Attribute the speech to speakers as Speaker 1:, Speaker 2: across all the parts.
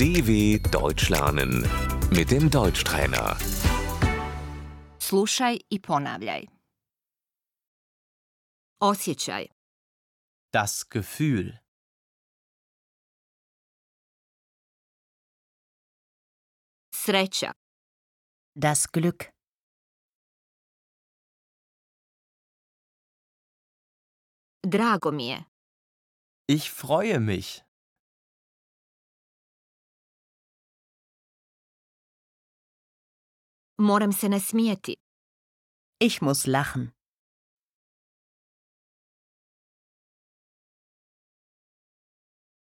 Speaker 1: DW Deutsch lernen mit dem Deutschtrainer.
Speaker 2: Slušaj i ponavljaj. Osjećaj,
Speaker 3: Das Gefühl.
Speaker 2: sreća,
Speaker 4: Das Glück,
Speaker 2: drago mi je,
Speaker 3: Ich freue mich.
Speaker 2: moram se nasmijeti,
Speaker 4: ich muss lachen,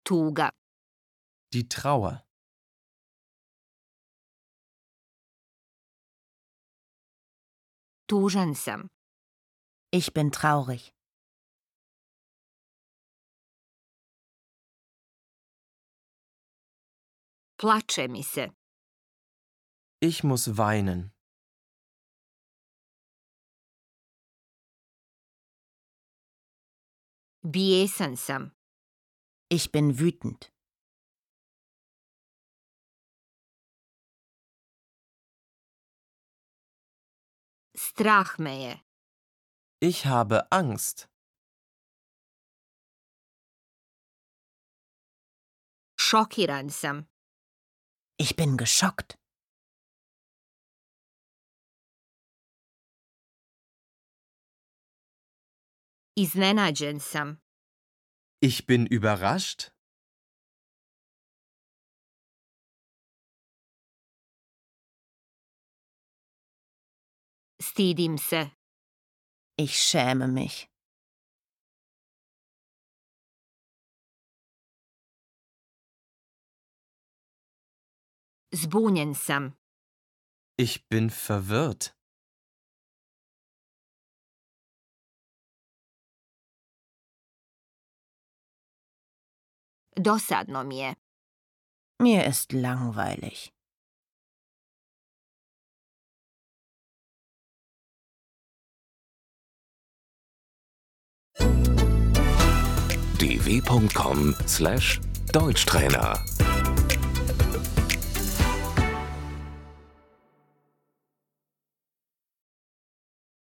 Speaker 2: tuga,
Speaker 3: Die Trauer.
Speaker 2: tužan sam,
Speaker 4: ich bin traurig,
Speaker 2: plače mi se,
Speaker 3: Ich muss weinen.
Speaker 2: bijesan sam,
Speaker 4: ich bin wütend,
Speaker 2: strah me je,
Speaker 3: Ich habe Angst.
Speaker 2: šokiran sam,
Speaker 4: ich bin geschockt,
Speaker 2: iznenađen sam,
Speaker 3: Ich bin überrascht.
Speaker 2: stidim se,
Speaker 4: ich schäme mich.
Speaker 2: zbunjen sam,
Speaker 3: Ich bin verwirrt.
Speaker 2: dosadno mi je,
Speaker 4: Mir ist langweilig.
Speaker 1: dw.com/deutschtrainer